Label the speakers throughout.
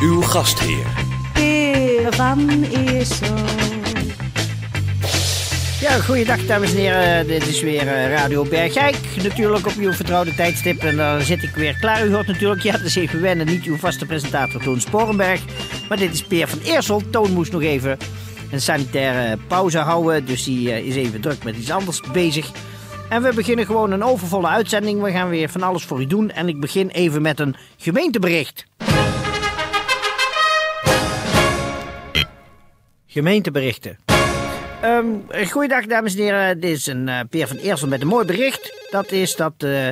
Speaker 1: Uw gastheer,
Speaker 2: Peer van Eersel.
Speaker 3: Ja, goeiedag dames en heren. Dit is weer eh, Radio Bergijk. Natuurlijk op uw vertrouwde tijdstip. En dan zit ik weer klaar. U hoort natuurlijk, ja, dat is even wennen. Niet uw vaste presentator Toon Sporenberg. Maar dit is Peer van Eersel. Toon moest nog even een sanitaire pauze houden. Dus die eh, is even druk met iets anders bezig. En we beginnen gewoon een overvolle uitzending. We gaan weer van alles voor u doen. En ik begin even met een gemeentebericht. Gemeenteberichten. Ehm goeiedag, dames en heren. Dit is een eh, Peer van Eersel met een mooi bericht. Dat is dat eh,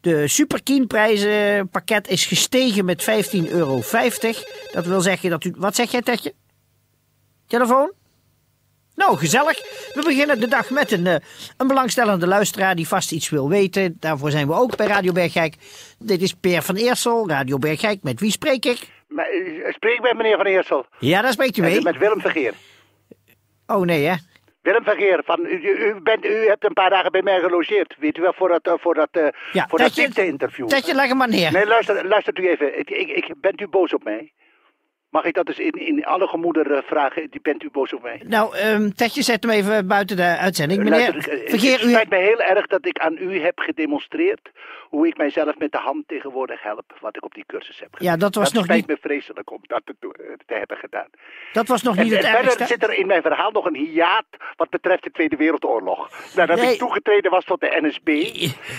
Speaker 3: de Superkienprijzenpakket is gestegen met 15,50 euro. Dat wil zeggen dat u... Wat zeg jij, Tetje? Telefoon? Nou, gezellig. We beginnen de dag met een, eh, een belangstellende luisteraar die vast iets wil weten. Daarvoor zijn we ook bij Radio Bergijk. Dit is Peer van Eersel, Radio Bergijk. Met wie spreek ik?
Speaker 4: Maar, eh, Spreek met meneer Van Eersel.
Speaker 3: Ja, daar spreekt u mee.
Speaker 4: Met Willem Vergeer.
Speaker 3: Oh, nee, hè?
Speaker 4: Willem Vergeer, van, u, u, bent, u hebt een paar dagen bij mij gelogeerd, weet u wel, voor dat, eh, voor dat, eh,
Speaker 3: Ja,
Speaker 4: voor dat
Speaker 3: Tetje-
Speaker 4: ziekte-interview.
Speaker 3: Tetje, leg hem maar neer.
Speaker 4: Nee, luister, luistert u even. Ik, ik, ik, bent u boos op mij? Mag ik dat eens in, in alle gemoeder eh, vragen? Die, bent u boos op mij?
Speaker 3: Nou, ehm Tetje, zet hem even buiten de uitzending. Meneer,
Speaker 4: Luister, eh, het
Speaker 3: vergeer u...
Speaker 4: spijt mij heel erg dat ik aan u heb gedemonstreerd hoe ik mijzelf met de hand tegenwoordig help, wat ik op die cursus heb gedaan.
Speaker 3: Ja, dat was nog
Speaker 4: spijt
Speaker 3: niet-
Speaker 4: me vreselijk om dat te, doen- eh, te hebben gedaan.
Speaker 3: Dat was nog
Speaker 5: Eh,
Speaker 4: En,
Speaker 3: niet het
Speaker 4: en verder
Speaker 3: ergste.
Speaker 4: zit er in mijn verhaal nog een hiaat wat betreft de Tweede Wereldoorlog. Nadat
Speaker 3: Nee.
Speaker 4: ik toegetreden was tot de NSB,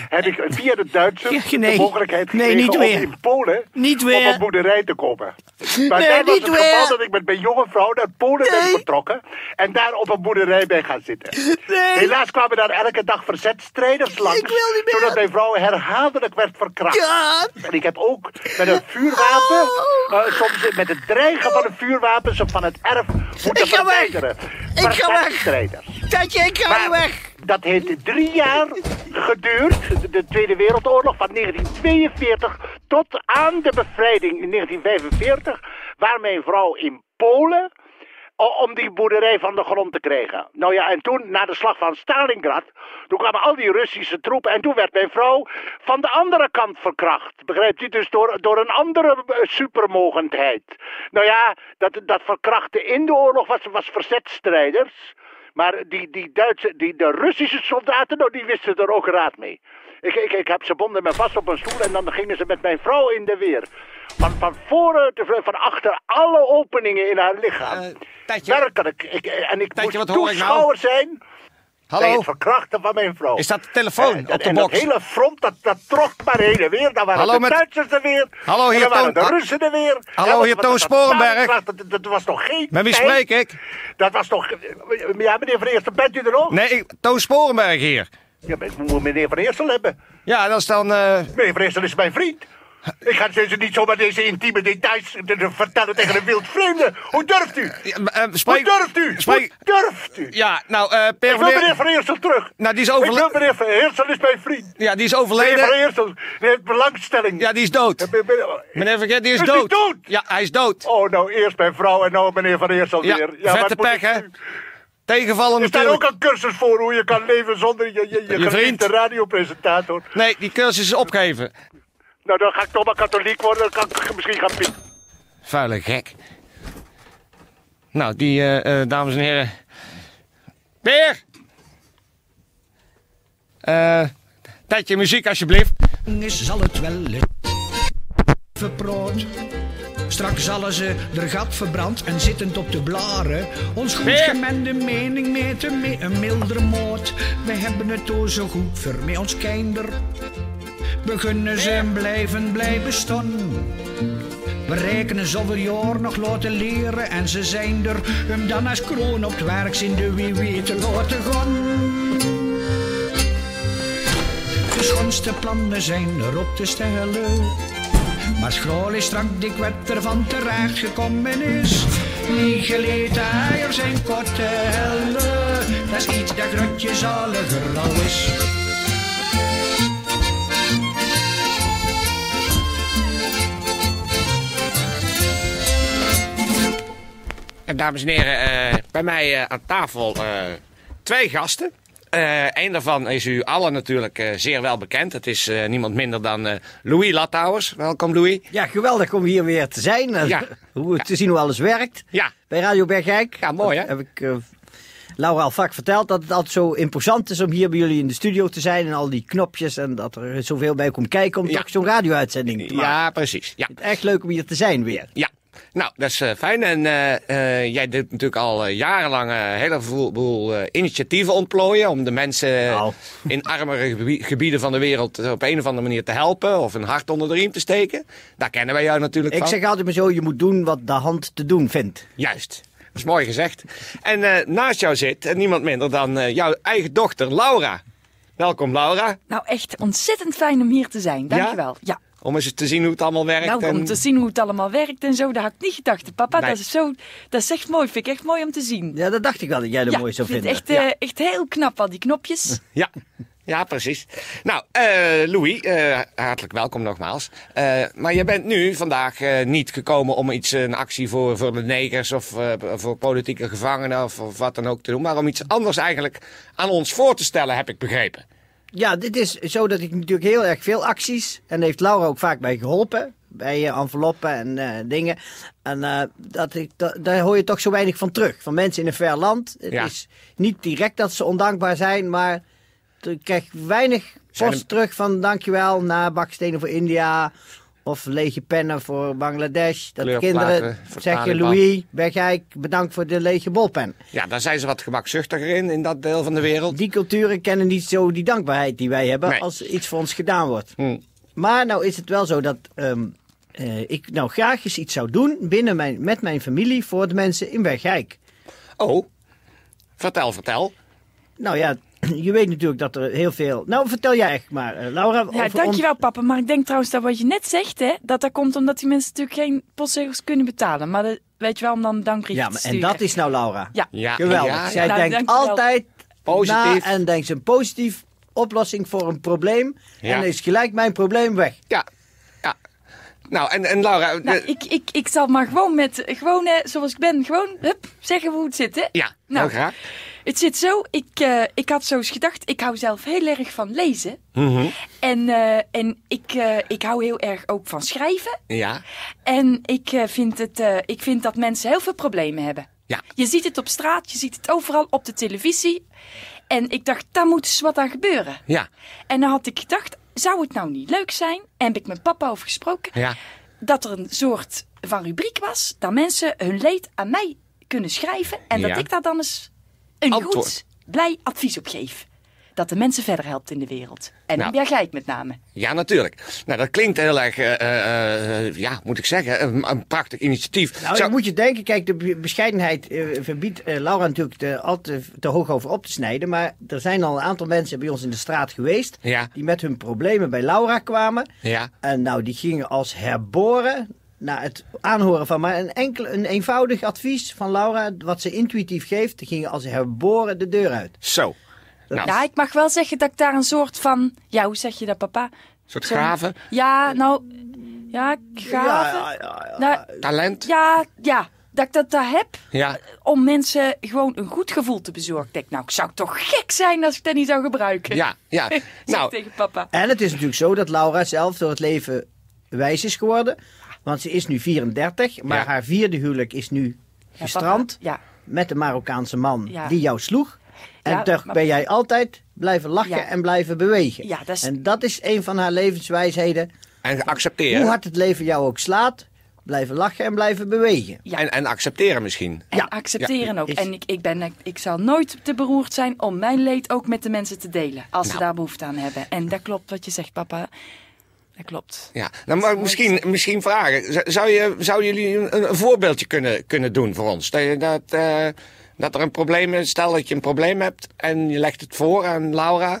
Speaker 4: heb ik via de Duitsers
Speaker 3: Ja, nee.
Speaker 4: de mogelijkheid
Speaker 3: Nee,
Speaker 4: gekregen
Speaker 3: niet weer.
Speaker 4: om in Polen
Speaker 3: Niet weer.
Speaker 4: op een boerderij te komen. Maar
Speaker 3: Nee,
Speaker 4: daar was
Speaker 3: niet
Speaker 4: het
Speaker 3: weer.
Speaker 4: geval dat ik met mijn jonge vrouw naar Polen ben
Speaker 3: Nee.
Speaker 4: vertrokken en daar op een boerderij ben gaan zitten.
Speaker 3: Nee.
Speaker 4: Helaas kwamen daar elke dag verzetstrijders langs,
Speaker 3: Ik wil niet meer.
Speaker 4: zodat mijn vrouw herhaaldelijk werd verkracht.
Speaker 3: Ja.
Speaker 4: En ik heb ook met een vuurwapen,
Speaker 3: Oh.
Speaker 4: eh, soms met het dreigen van een vuurwapen, ze van het erf moeten
Speaker 3: Ik ga weg.
Speaker 4: verwijderen.
Speaker 3: Ik ga weg.
Speaker 4: Verzetstrijders.
Speaker 3: Tetje, ik ga
Speaker 4: Maar
Speaker 3: weer weg.
Speaker 4: Dat heeft drie jaar geduurd, de- de Tweede Wereldoorlog van 1942 tot aan de bevrijding in 1945, waar mijn vrouw in Polen o- om die boerderij van de grond te krijgen. Nou ja, en toen, na de slag van Stalingrad, toen kwamen al die Russische troepen en toen werd mijn vrouw van de andere kant verkracht. Begrijpt u? Dus door, door een andere eh, supermogendheid. Nou ja, dat, dat verkrachten in de oorlog was, was verzetstrijders. Maar die, die Duitse, die, de Russische soldaten, nou, die wisten er ook raad mee. Ik, ik, ik heb ze bonden me vast op een stoel en dan gingen ze met mijn vrouw in de weer. Van, van voren, te, van achter alle openingen in haar lichaam.
Speaker 5: Eh, Tijtje.
Speaker 4: Werkelijk. Ik, en ik
Speaker 5: Tijtje,
Speaker 4: moest
Speaker 5: wat hoor ik nou?
Speaker 4: toeschouwer zijn bij
Speaker 5: Hallo?
Speaker 4: het verkrachten van mijn vrouw.
Speaker 5: Is dat de telefoon
Speaker 4: En-
Speaker 5: op de
Speaker 4: en
Speaker 5: box?
Speaker 4: dat hele front, dat, dat trok maar heen en weer. Dan waren
Speaker 5: Hallo
Speaker 4: de
Speaker 5: met-
Speaker 4: Duitsers er weer.
Speaker 5: Hallo,
Speaker 4: en dan
Speaker 5: heer
Speaker 4: waren
Speaker 5: Toon.
Speaker 4: de Russen er weer.
Speaker 5: Hallo,
Speaker 4: Ja, want-
Speaker 5: heer
Speaker 4: want
Speaker 5: Toon
Speaker 4: dat
Speaker 5: Sporenberg.
Speaker 4: Stalingrad, Dat, dat was nog geen
Speaker 5: Met wie
Speaker 4: tijd.
Speaker 5: spreek ik?
Speaker 4: Dat was toch... Ja, meneer Van Eerste, bent u er nog?
Speaker 5: Nee, ik- Toon Sporenberg hier.
Speaker 4: Ja, maar ik moet meneer Van Eersel hebben.
Speaker 5: Ja, dat is dan. eh,
Speaker 4: Meneer Van Eersel is mijn vriend. Ik ga ze niet zomaar deze intieme details te- te vertellen tegen een wild vreemde. Hoe durft u?
Speaker 5: ja, maar, eh,
Speaker 4: Hoe
Speaker 5: spreek.
Speaker 4: durft u? Hoe
Speaker 5: Spreek.
Speaker 4: durft u?
Speaker 5: Ja, nou, eh Per
Speaker 4: Ik
Speaker 5: van
Speaker 4: wil
Speaker 5: Eer-
Speaker 4: meneer Van Eersel terug.
Speaker 5: Nou, die is
Speaker 4: Ik wil
Speaker 5: overleden.
Speaker 4: meneer Van Eersel is mijn vriend.
Speaker 5: Ja, die is
Speaker 4: Meneer Van
Speaker 5: overleden.
Speaker 4: Eersel die heeft belangstelling. Eh,
Speaker 5: Ja, die is dood. Meneer Vergeet, die is,
Speaker 4: Is die
Speaker 5: dood.
Speaker 4: dood?
Speaker 5: Ja, hij is dood.
Speaker 4: Oh, nou eerst mijn vrouw en nou meneer Van Eersel
Speaker 5: Ja,
Speaker 4: weer.
Speaker 5: vette
Speaker 4: wat moet
Speaker 5: pech,
Speaker 4: ik
Speaker 5: hè?
Speaker 4: nu?
Speaker 5: Tegenvallen
Speaker 4: Er staat ook
Speaker 5: natuurlijk.
Speaker 4: een cursus voor hoe je kan leven zonder je, je, je,
Speaker 5: vriend.
Speaker 4: geliefde radiopresentator.
Speaker 5: Nee, die cursus is opgegeven.
Speaker 4: Nou, dan ga ik toch maar katholiek worden. Dan kan ik misschien gaan piepen.
Speaker 5: Vuile gek. Nou, die, eh, eh, dames en heren. Peer! Eh, tijdje muziek alsjeblieft.
Speaker 6: is, zal het wel leven brood. Straks zullen ze er gat verbrand en zittend op de blaren. Ons goed
Speaker 5: Weer.
Speaker 6: gemende mening meten met een milder moord. We hebben het door zo goed voor met ons kinder. Beginnen ze en blijven blij bestaan. We rekenen zoveel jaar nog laten leren en ze zijn er. Om dan als kroon op het werk in de wie weet te laten gaan. De schoonste plannen zijn erop te stellen. Maar school is strak dik wat er van terecht gekomen is. Die geleten eiers en korte hellen, dat is iets dat grotje zaliger al is.
Speaker 5: En dames en heren, eh, bij mij eh, aan tafel eh, twee gasten. Eh Eén daarvan is u allen natuurlijk eh, zeer wel bekend. Het is eh, niemand minder dan eh, Louis Lattouwers. Welkom, Louis.
Speaker 3: Ja, geweldig om hier weer te zijn. en
Speaker 5: Ja.
Speaker 3: Hoe, te zien hoe alles werkt.
Speaker 5: Ja.
Speaker 3: Bij Radio Bergijk.
Speaker 5: Ja, mooi, hè?
Speaker 3: Dat Heb ik eh, Laura al vaak verteld dat het altijd zo imposant is om hier bij jullie in de studio te zijn. En al die knopjes en dat er zoveel bij komt kijken om
Speaker 5: Ja.
Speaker 3: toch zo'n radio-uitzending te maken.
Speaker 5: Ja, precies. Ja.
Speaker 3: Het is echt leuk om hier te zijn weer.
Speaker 5: Ja, nou, dat is eh, fijn. En eh, eh, jij doet natuurlijk al eh, jarenlang eh, een heleboel eh, initiatieven ontplooien om de mensen eh,
Speaker 3: Nou.
Speaker 5: in armere gebi- gebieden van de wereld eh, op een of andere manier te helpen of een hart onder de riem te steken. Daar kennen wij jou natuurlijk
Speaker 3: Ik
Speaker 5: van.
Speaker 3: zeg altijd maar zo, je moet doen wat de hand te doen vindt.
Speaker 5: Juist. Dat is mooi gezegd. En eh, naast jou zit eh, niemand minder dan eh, jouw eigen dochter, Laura. Welkom, Laura.
Speaker 7: Nou, echt ontzettend fijn om hier te zijn. Dankjewel. Ja.
Speaker 5: Om eens te zien hoe het allemaal werkt.
Speaker 7: Nou, om
Speaker 5: en-
Speaker 7: te zien hoe het allemaal werkt en zo, daar had ik niet gedacht. Papa,
Speaker 5: Nee.
Speaker 7: dat, is zo, dat is echt mooi. Vind ik echt mooi om te zien.
Speaker 3: Ja, dat dacht ik wel dat jij dat mooi
Speaker 7: ik
Speaker 3: zou
Speaker 7: vind
Speaker 3: vinden.
Speaker 7: het echt, eh, echt heel knap, al die knopjes.
Speaker 5: Ja, ja precies. Nou, eh, Louis, eh, hartelijk welkom nogmaals. Eh, maar je bent nu vandaag eh, niet gekomen om iets, eh, een actie voor, voor de negers of eh, voor politieke gevangenen of, of wat dan ook te doen. Maar om iets anders eigenlijk aan ons voor te stellen, heb ik begrepen.
Speaker 3: Ja, dit is zo dat ik natuurlijk heel erg veel acties. En daar heeft Laura ook vaak bij geholpen. Bij eh, enveloppen en eh, dingen. En eh, dat ik, dat- daar hoor je toch zo weinig van terug. Van mensen in een ver land. Het
Speaker 5: Ja.
Speaker 3: is niet direct dat ze ondankbaar zijn, maar ik krijg weinig
Speaker 5: Zijn
Speaker 3: post
Speaker 5: er-
Speaker 3: terug van dankjewel na bakstenen voor India. Of lege pennen voor Bangladesh. Dat de
Speaker 5: Kleurplaten
Speaker 3: kinderen
Speaker 5: voor
Speaker 3: zeggen,
Speaker 5: Taliban.
Speaker 3: Louis, Bergijk, bedankt voor de lege bolpen.
Speaker 5: Ja, daar zijn ze wat gemakzuchtiger in, in dat deel van de wereld.
Speaker 3: Die culturen kennen niet zo die dankbaarheid die wij hebben
Speaker 5: Nee.
Speaker 3: als iets voor ons gedaan wordt.
Speaker 5: Hm.
Speaker 3: Maar nou is het wel zo dat ehm, eh, ik nou graag eens iets zou doen binnen mijn, met mijn familie voor de mensen in Bergijk.
Speaker 5: Oh, vertel, vertel.
Speaker 3: Nou ja, je weet natuurlijk dat er heel veel... Nou, vertel jij echt maar, eh, Laura.
Speaker 7: Ja,
Speaker 3: over ons-
Speaker 7: dankjewel, papa. Maar ik denk trouwens dat wat je net zegt, hè, dat dat komt omdat die mensen natuurlijk geen postzegels kunnen betalen. Maar dat, weet je wel, om dan een dankbrief
Speaker 3: Ja,
Speaker 7: te
Speaker 3: maar, en
Speaker 7: sturen.
Speaker 3: dat is nou Laura.
Speaker 7: Ja.
Speaker 5: Ja,
Speaker 3: Geweldig.
Speaker 5: ja, ja.
Speaker 3: Zij
Speaker 7: Nou,
Speaker 3: denkt
Speaker 7: dankjewel.
Speaker 3: altijd
Speaker 5: Positief.
Speaker 3: na en denkt een positief oplossing voor een probleem.
Speaker 5: Ja.
Speaker 3: En dan is gelijk mijn probleem weg.
Speaker 5: Ja, ja. Nou, en, en Laura...
Speaker 7: Nou,
Speaker 5: de-
Speaker 7: ik, ik, ik zal maar gewoon met, gewoon eh, zoals ik ben, gewoon, hup, zeggen hoe het zit, hè.
Speaker 5: Ja,
Speaker 7: Nou,
Speaker 5: heel graag.
Speaker 7: Het zit zo, ik, eh, ik had zo eens gedacht, ik hou zelf heel erg van lezen.
Speaker 5: Mhm.
Speaker 7: En, eh, en ik, eh, ik hou heel erg ook van schrijven.
Speaker 5: Ja,
Speaker 7: En ik, eh, vind het, eh, ik vind dat mensen heel veel problemen hebben.
Speaker 5: ja.
Speaker 7: Je ziet het op straat, je ziet het overal op de televisie. En ik dacht, daar moet eens wat aan gebeuren.
Speaker 5: Ja,
Speaker 7: En dan had ik gedacht, zou het nou niet leuk zijn? En heb ik met papa over gesproken.
Speaker 5: Ja.
Speaker 7: Dat er een soort van rubriek was, dat mensen hun leed aan mij kunnen schrijven. En
Speaker 5: Ja.
Speaker 7: dat ik daar dan eens een
Speaker 5: Antwoord.
Speaker 7: goed, blij advies op geef. Dat de mensen verder helpt in de wereld. En
Speaker 5: Nou.
Speaker 7: in Bergijk met name.
Speaker 5: Ja, natuurlijk. Nou, dat klinkt heel erg, eh, eh, eh, ja, moet ik zeggen, een, een prachtig initiatief.
Speaker 3: Nou,
Speaker 5: Zo-
Speaker 3: ik moet je denken, kijk, de be- bescheidenheid eh, verbiedt eh, Laura natuurlijk te, al te, te hoog over op te snijden. Maar er zijn al een aantal mensen bij ons in de straat geweest.
Speaker 5: Ja.
Speaker 3: Die met hun problemen bij Laura kwamen.
Speaker 5: Ja.
Speaker 3: En nou, die gingen als herboren na het aanhoren van maar een, enkel, een eenvoudig advies van Laura. Wat ze intuïtief geeft, die gingen als herboren de deur uit.
Speaker 5: Zo.
Speaker 3: Ah.
Speaker 5: Nou,
Speaker 7: Ja, ik mag wel zeggen dat ik daar een soort van... Ja, hoe zeg je dat, papa?
Speaker 5: soort
Speaker 7: Zo'n-
Speaker 5: graven,
Speaker 7: Ja, nou... Ja, graven.
Speaker 3: Ja, ja, ja.
Speaker 7: Nou,
Speaker 5: talent.
Speaker 7: ja, ja, dat ik dat daar heb.
Speaker 5: Ja.
Speaker 7: om mensen gewoon een goed gevoel te bezorgen. Ik denk, nou, ik zou toch gek zijn als ik dat niet zou gebruiken.
Speaker 5: Ja, ja.
Speaker 7: Zeg ik
Speaker 5: Nou.
Speaker 7: tegen papa.
Speaker 3: En het is natuurlijk zo dat Laura zelf door het leven wijs is geworden. Want ze is nu 34, maar
Speaker 5: Ja.
Speaker 3: haar vierde huwelijk is nu
Speaker 7: Ja,
Speaker 3: gestrand.
Speaker 7: papa, Ja,
Speaker 3: met de Marokkaanse man
Speaker 7: Ja.
Speaker 3: die jou sloeg. En
Speaker 7: Ja,
Speaker 3: toch
Speaker 7: maar-
Speaker 3: ben jij altijd blijven lachen
Speaker 7: Ja.
Speaker 3: en blijven bewegen.
Speaker 7: Ja, dat is-
Speaker 3: En dat is een van haar levenswijsheden.
Speaker 5: En accepteren.
Speaker 3: Hoe hard het leven jou ook slaat, blijven lachen en blijven bewegen.
Speaker 7: ja.
Speaker 5: En, en accepteren misschien.
Speaker 7: En
Speaker 3: ja.
Speaker 7: accepteren ook.
Speaker 3: Is-
Speaker 7: En ik, ik, ben, ik zal nooit te beroerd zijn om mijn leed ook met de mensen te delen. Als
Speaker 3: Nou.
Speaker 7: ze daar behoefte aan hebben. En dat klopt wat je zegt, papa. Dat klopt.
Speaker 5: Ja. Nou, maar misschien, misschien vragen. Z- Zou, je, zou jullie een, een voorbeeldje kunnen, kunnen doen voor ons? Dat, je dat, eh, dat er een probleem is. Stel dat je een probleem hebt en je legt het voor aan Laura.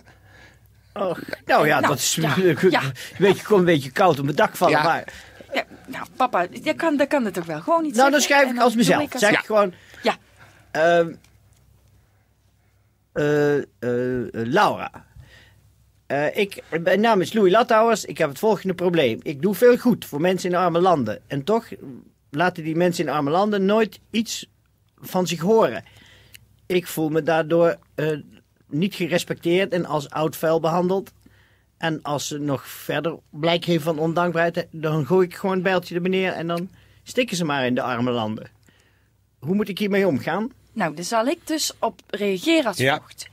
Speaker 3: nou ja,
Speaker 7: Nou,
Speaker 3: dat is
Speaker 7: ja,
Speaker 3: een
Speaker 7: Nou, ja.
Speaker 3: beetje, ik kon een beetje koud op mijn dak vallen.
Speaker 5: Ja.
Speaker 3: Maar
Speaker 7: Ja, nou, papa, dat kan, dat kan het ook wel. Gewoon iets
Speaker 3: Nou, dan
Speaker 7: zeggen
Speaker 3: schrijf
Speaker 7: en
Speaker 3: ik als
Speaker 7: doe
Speaker 3: mezelf.
Speaker 7: ik als-
Speaker 3: zeg
Speaker 7: ja.
Speaker 3: ik gewoon.
Speaker 7: Ja.
Speaker 3: ehm, eh, eh, Laura. Eh, ik, mijn naam is Louis Lathouwers. Ik heb het volgende probleem. Ik doe veel goed voor mensen in arme landen. En toch laten die mensen in arme landen nooit iets van zich horen. Ik voel me daardoor eh, niet gerespecteerd en als oud vuil behandeld. En als ze nog verder blijk heeft van ondankbaarheid, dan gooi ik gewoon een bijltje er beneden en dan stikken ze maar in de arme landen. Hoe moet ik hiermee omgaan?
Speaker 7: Nou, daar zal ik dus op reageren als
Speaker 5: Ja.
Speaker 7: volgt.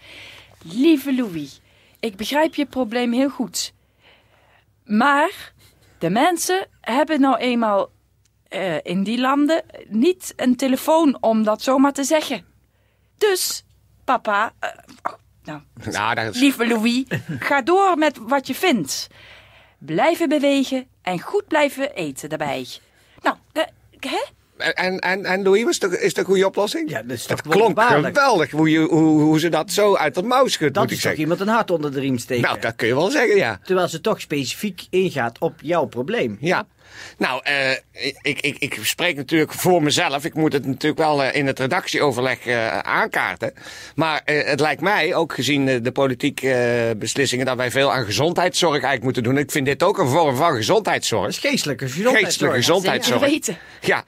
Speaker 7: Lieve Louis, ik begrijp je probleem heel goed. Maar de mensen hebben nou eenmaal eh, in die landen niet een telefoon om dat zomaar te zeggen. Dus, papa, eh, oh, nou,
Speaker 5: Nou, daar is...
Speaker 7: lieve Louis, ga door met wat je vindt. Blijven bewegen en goed blijven eten daarbij. Nou, de, hè?
Speaker 5: En, en, en Louis, was de, is de goede oplossing?
Speaker 3: Ja, dat is
Speaker 5: Het
Speaker 3: toch
Speaker 5: klonk
Speaker 3: wonderbaarlijk.
Speaker 5: geweldig hoe, je, hoe, hoe ze dat zo uit de mouw schudt,
Speaker 3: Dat
Speaker 5: moet ik
Speaker 3: is toch
Speaker 5: zeggen.
Speaker 3: iemand een hart onder de riem steken.
Speaker 5: Nou, dat kun je wel zeggen, ja.
Speaker 3: Terwijl ze toch specifiek ingaat op jouw probleem.
Speaker 5: Ja. Nou, eh, ik, ik, ik spreek natuurlijk voor mezelf. Ik moet het natuurlijk wel eh, in het redactieoverleg eh, aankaarten. Maar eh, het lijkt mij, ook gezien eh, de politieke eh, beslissingen, dat wij veel aan gezondheidszorg eigenlijk moeten doen. Ik vind dit ook een vorm van gezondheidszorg.
Speaker 3: Dat is geestelijke gezondheid.
Speaker 5: Geestelijke
Speaker 7: Zeker
Speaker 5: gezondheidszorg.
Speaker 7: weten.
Speaker 5: Ja,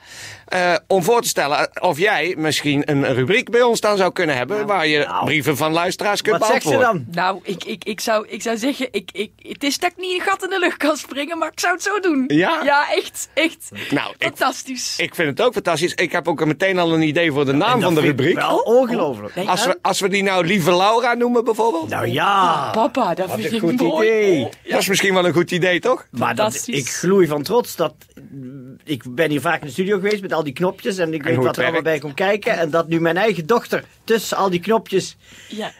Speaker 5: Eh, om voor te stellen eh, of jij misschien een rubriek bij ons dan zou kunnen hebben. waar je
Speaker 3: nou.
Speaker 5: brieven van luisteraars kunt
Speaker 3: Wat zegt ze
Speaker 5: beantwoorden.
Speaker 3: dan?
Speaker 7: Nou, ik, ik, ik, zou, ik zou zeggen, ik, ik, het is dat ik niet een gat in de lucht kan springen, maar ik zou het zo doen.
Speaker 5: Ja?
Speaker 7: Ja, echt, echt.
Speaker 5: Nou, ik-
Speaker 7: Fantastisch.
Speaker 5: Ik vind het ook fantastisch. Ik heb ook meteen al een idee voor de naam
Speaker 3: Nou, En dat
Speaker 5: van de
Speaker 3: vind ik
Speaker 5: rubriek.
Speaker 3: Wel ongelooflijk.
Speaker 7: Nee,
Speaker 5: Als we, als we die nou Lieve Laura noemen bijvoorbeeld.
Speaker 3: Nou ja,
Speaker 7: Papa, dat
Speaker 3: wat
Speaker 7: vind
Speaker 3: een
Speaker 7: ik
Speaker 3: goed
Speaker 7: mooi.
Speaker 3: idee.
Speaker 5: Dat is misschien wel een goed idee, toch?
Speaker 3: Maar dat,
Speaker 7: Fantastisch.
Speaker 3: ik gloei van trots. Dat, ik ben hier vaak in de studio geweest met al die knopjes. En ik weet
Speaker 5: hoe
Speaker 3: wat
Speaker 5: het
Speaker 3: er allemaal bij
Speaker 5: werkt.
Speaker 3: komt kijken. En dat nu mijn eigen dochter tussen al die knopjes.
Speaker 7: Ja,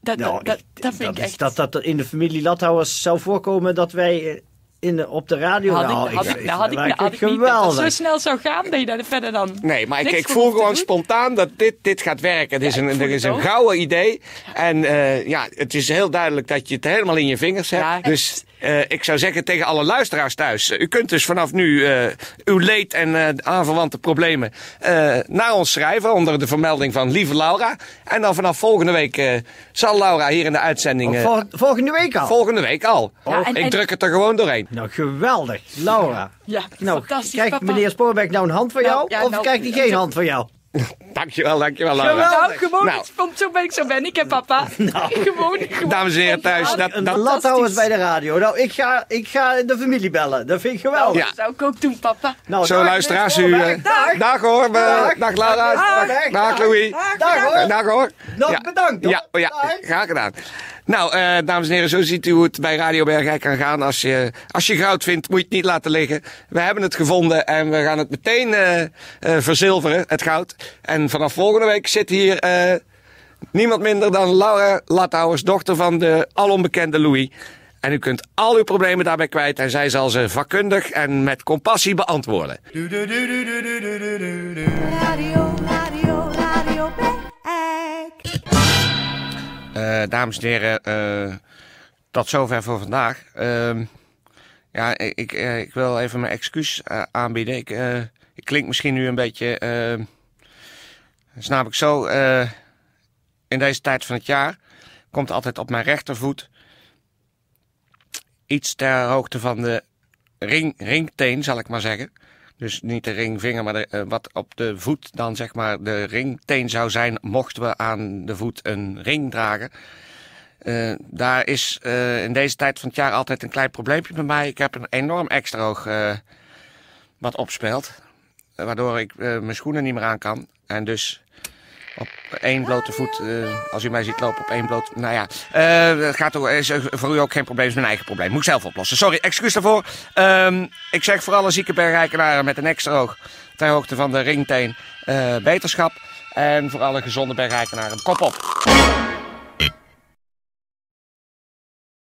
Speaker 7: dat,
Speaker 3: Nou,
Speaker 7: dat, dat,
Speaker 3: ik-
Speaker 7: dat vind
Speaker 3: is-
Speaker 7: ik echt.
Speaker 3: Dat dat er in de familie Lathouwers zou voorkomen dat wij eh, in, de- op de radio...
Speaker 7: had ik,
Speaker 3: nou,
Speaker 7: had ik, dat had ik,
Speaker 3: maak
Speaker 7: dat had
Speaker 3: het
Speaker 7: ik niet dat dat
Speaker 3: geweldig.
Speaker 7: zo snel zou gaan. Nee, dat verder dan.
Speaker 5: Nee, maar ik,
Speaker 7: Niks
Speaker 5: ik
Speaker 7: voor
Speaker 5: voel
Speaker 7: hoeft te
Speaker 5: gewoon
Speaker 7: doen.
Speaker 5: spontaan dat dit, dit gaat werken. Het is
Speaker 7: ik
Speaker 5: een,
Speaker 7: voel
Speaker 5: er is
Speaker 7: het
Speaker 5: een
Speaker 7: ook.
Speaker 5: gouden idee. En eh, ja, het is heel duidelijk dat je het helemaal in je vingers hebt.
Speaker 7: Ja.
Speaker 5: Dus eh, ik zou zeggen tegen alle luisteraars thuis. eh, U kunt dus vanaf nu eh, uw leed en eh, de aanverwante problemen eh, naar ons schrijven. Onder de vermelding van Lieve Laura. En dan vanaf volgende week eh, zal Laura hier in de uitzending... eh,
Speaker 3: Vol- volgende week al.
Speaker 5: volgende week al.
Speaker 7: Ja, en-
Speaker 5: ik
Speaker 7: en-
Speaker 5: druk het er gewoon doorheen.
Speaker 3: nou, geweldig. Laura.
Speaker 7: Ja,
Speaker 3: Nou,
Speaker 7: fantastisch,
Speaker 3: krijgt
Speaker 7: papa.
Speaker 3: meneer Spoorbeck nou een hand van
Speaker 7: Nou,
Speaker 3: jou?
Speaker 7: ja,
Speaker 3: of
Speaker 7: nou,
Speaker 3: krijgt hij
Speaker 7: ja,
Speaker 3: geen
Speaker 7: zo-
Speaker 3: hand van jou?
Speaker 5: Dankjewel, dankjewel Laura.
Speaker 3: Geweldig.
Speaker 7: Nou, gewoon,
Speaker 5: Nou.
Speaker 7: iets van zo ben ik, zo ben ik, hè, papa. gewoon, gewoon.
Speaker 5: Dames en heren thuis,
Speaker 7: Ja,
Speaker 5: dat,
Speaker 3: Een
Speaker 5: dat,
Speaker 3: Lathouwers bij de radio. Nou, ik ga, ik ga de familie bellen. Dat vind ik geweldig.
Speaker 7: Dat zou ik ook doen, papa.
Speaker 3: Nou,
Speaker 5: Zo,
Speaker 3: dag,
Speaker 5: luisteraars, u.
Speaker 3: meneer
Speaker 5: eh,
Speaker 3: Spoorbeck. Dag.
Speaker 5: dag hoor. we-
Speaker 3: Dag.
Speaker 5: dag Laura.
Speaker 3: Dag.
Speaker 5: Dag,
Speaker 3: Dag.
Speaker 5: Louis.
Speaker 3: Dag, dag, hoor.
Speaker 5: Dag hoor.
Speaker 3: Nog Nou, bedankt, hoor.
Speaker 5: Ja, oh, ja,
Speaker 3: Dag.
Speaker 5: graag gedaan. Nou, eh, dames en heren, zo ziet u hoe het bij Radio Bergrijk kan gaan. Als je, als je goud vindt, moet je het niet laten liggen. We hebben het gevonden en we gaan het meteen eh, eh, verzilveren, het goud. En vanaf volgende week zit hier eh, niemand minder dan Laura Lathouwers, dochter van de alombekende Louis. En u kunt al uw problemen daarbij kwijt en zij zal ze vakkundig en met compassie beantwoorden.
Speaker 2: Radio, radio, radio Bergijk.
Speaker 5: Eh, dames en heren, eh, tot zover voor vandaag. Ehm, ja, ik, ik, eh, ik wil even mijn excuus eh, aanbieden. Ik, eh, ik klink misschien nu een beetje, ehm, snap ik zo, eh, in deze tijd van het jaar komt altijd op mijn rechtervoet iets ter hoogte van de ring, ringteen, zal ik maar zeggen. Dus niet de ringvinger, maar de, eh, wat op de voet dan zeg maar de ringteen zou zijn, mochten we aan de voet een ring dragen. Eh, daar is eh, in deze tijd van het jaar altijd een klein probleempje bij mij. Ik heb een enorm extra oog eh, wat opspeelt, eh, waardoor ik eh, mijn schoenen niet meer aan kan. En dus op één blote voet, eh, als u mij ziet lopen op één blote... Nou ja, eh, het gaat ook, is voor u ook geen probleem, is mijn eigen probleem. Moet ik zelf oplossen. Sorry, excuus daarvoor. Ehm, ik zeg voor alle zieke bergrijkenaren met een extra oog ter hoogte van de ringteen eh, beterschap. En voor alle gezonde bergrijkenaren, kop op.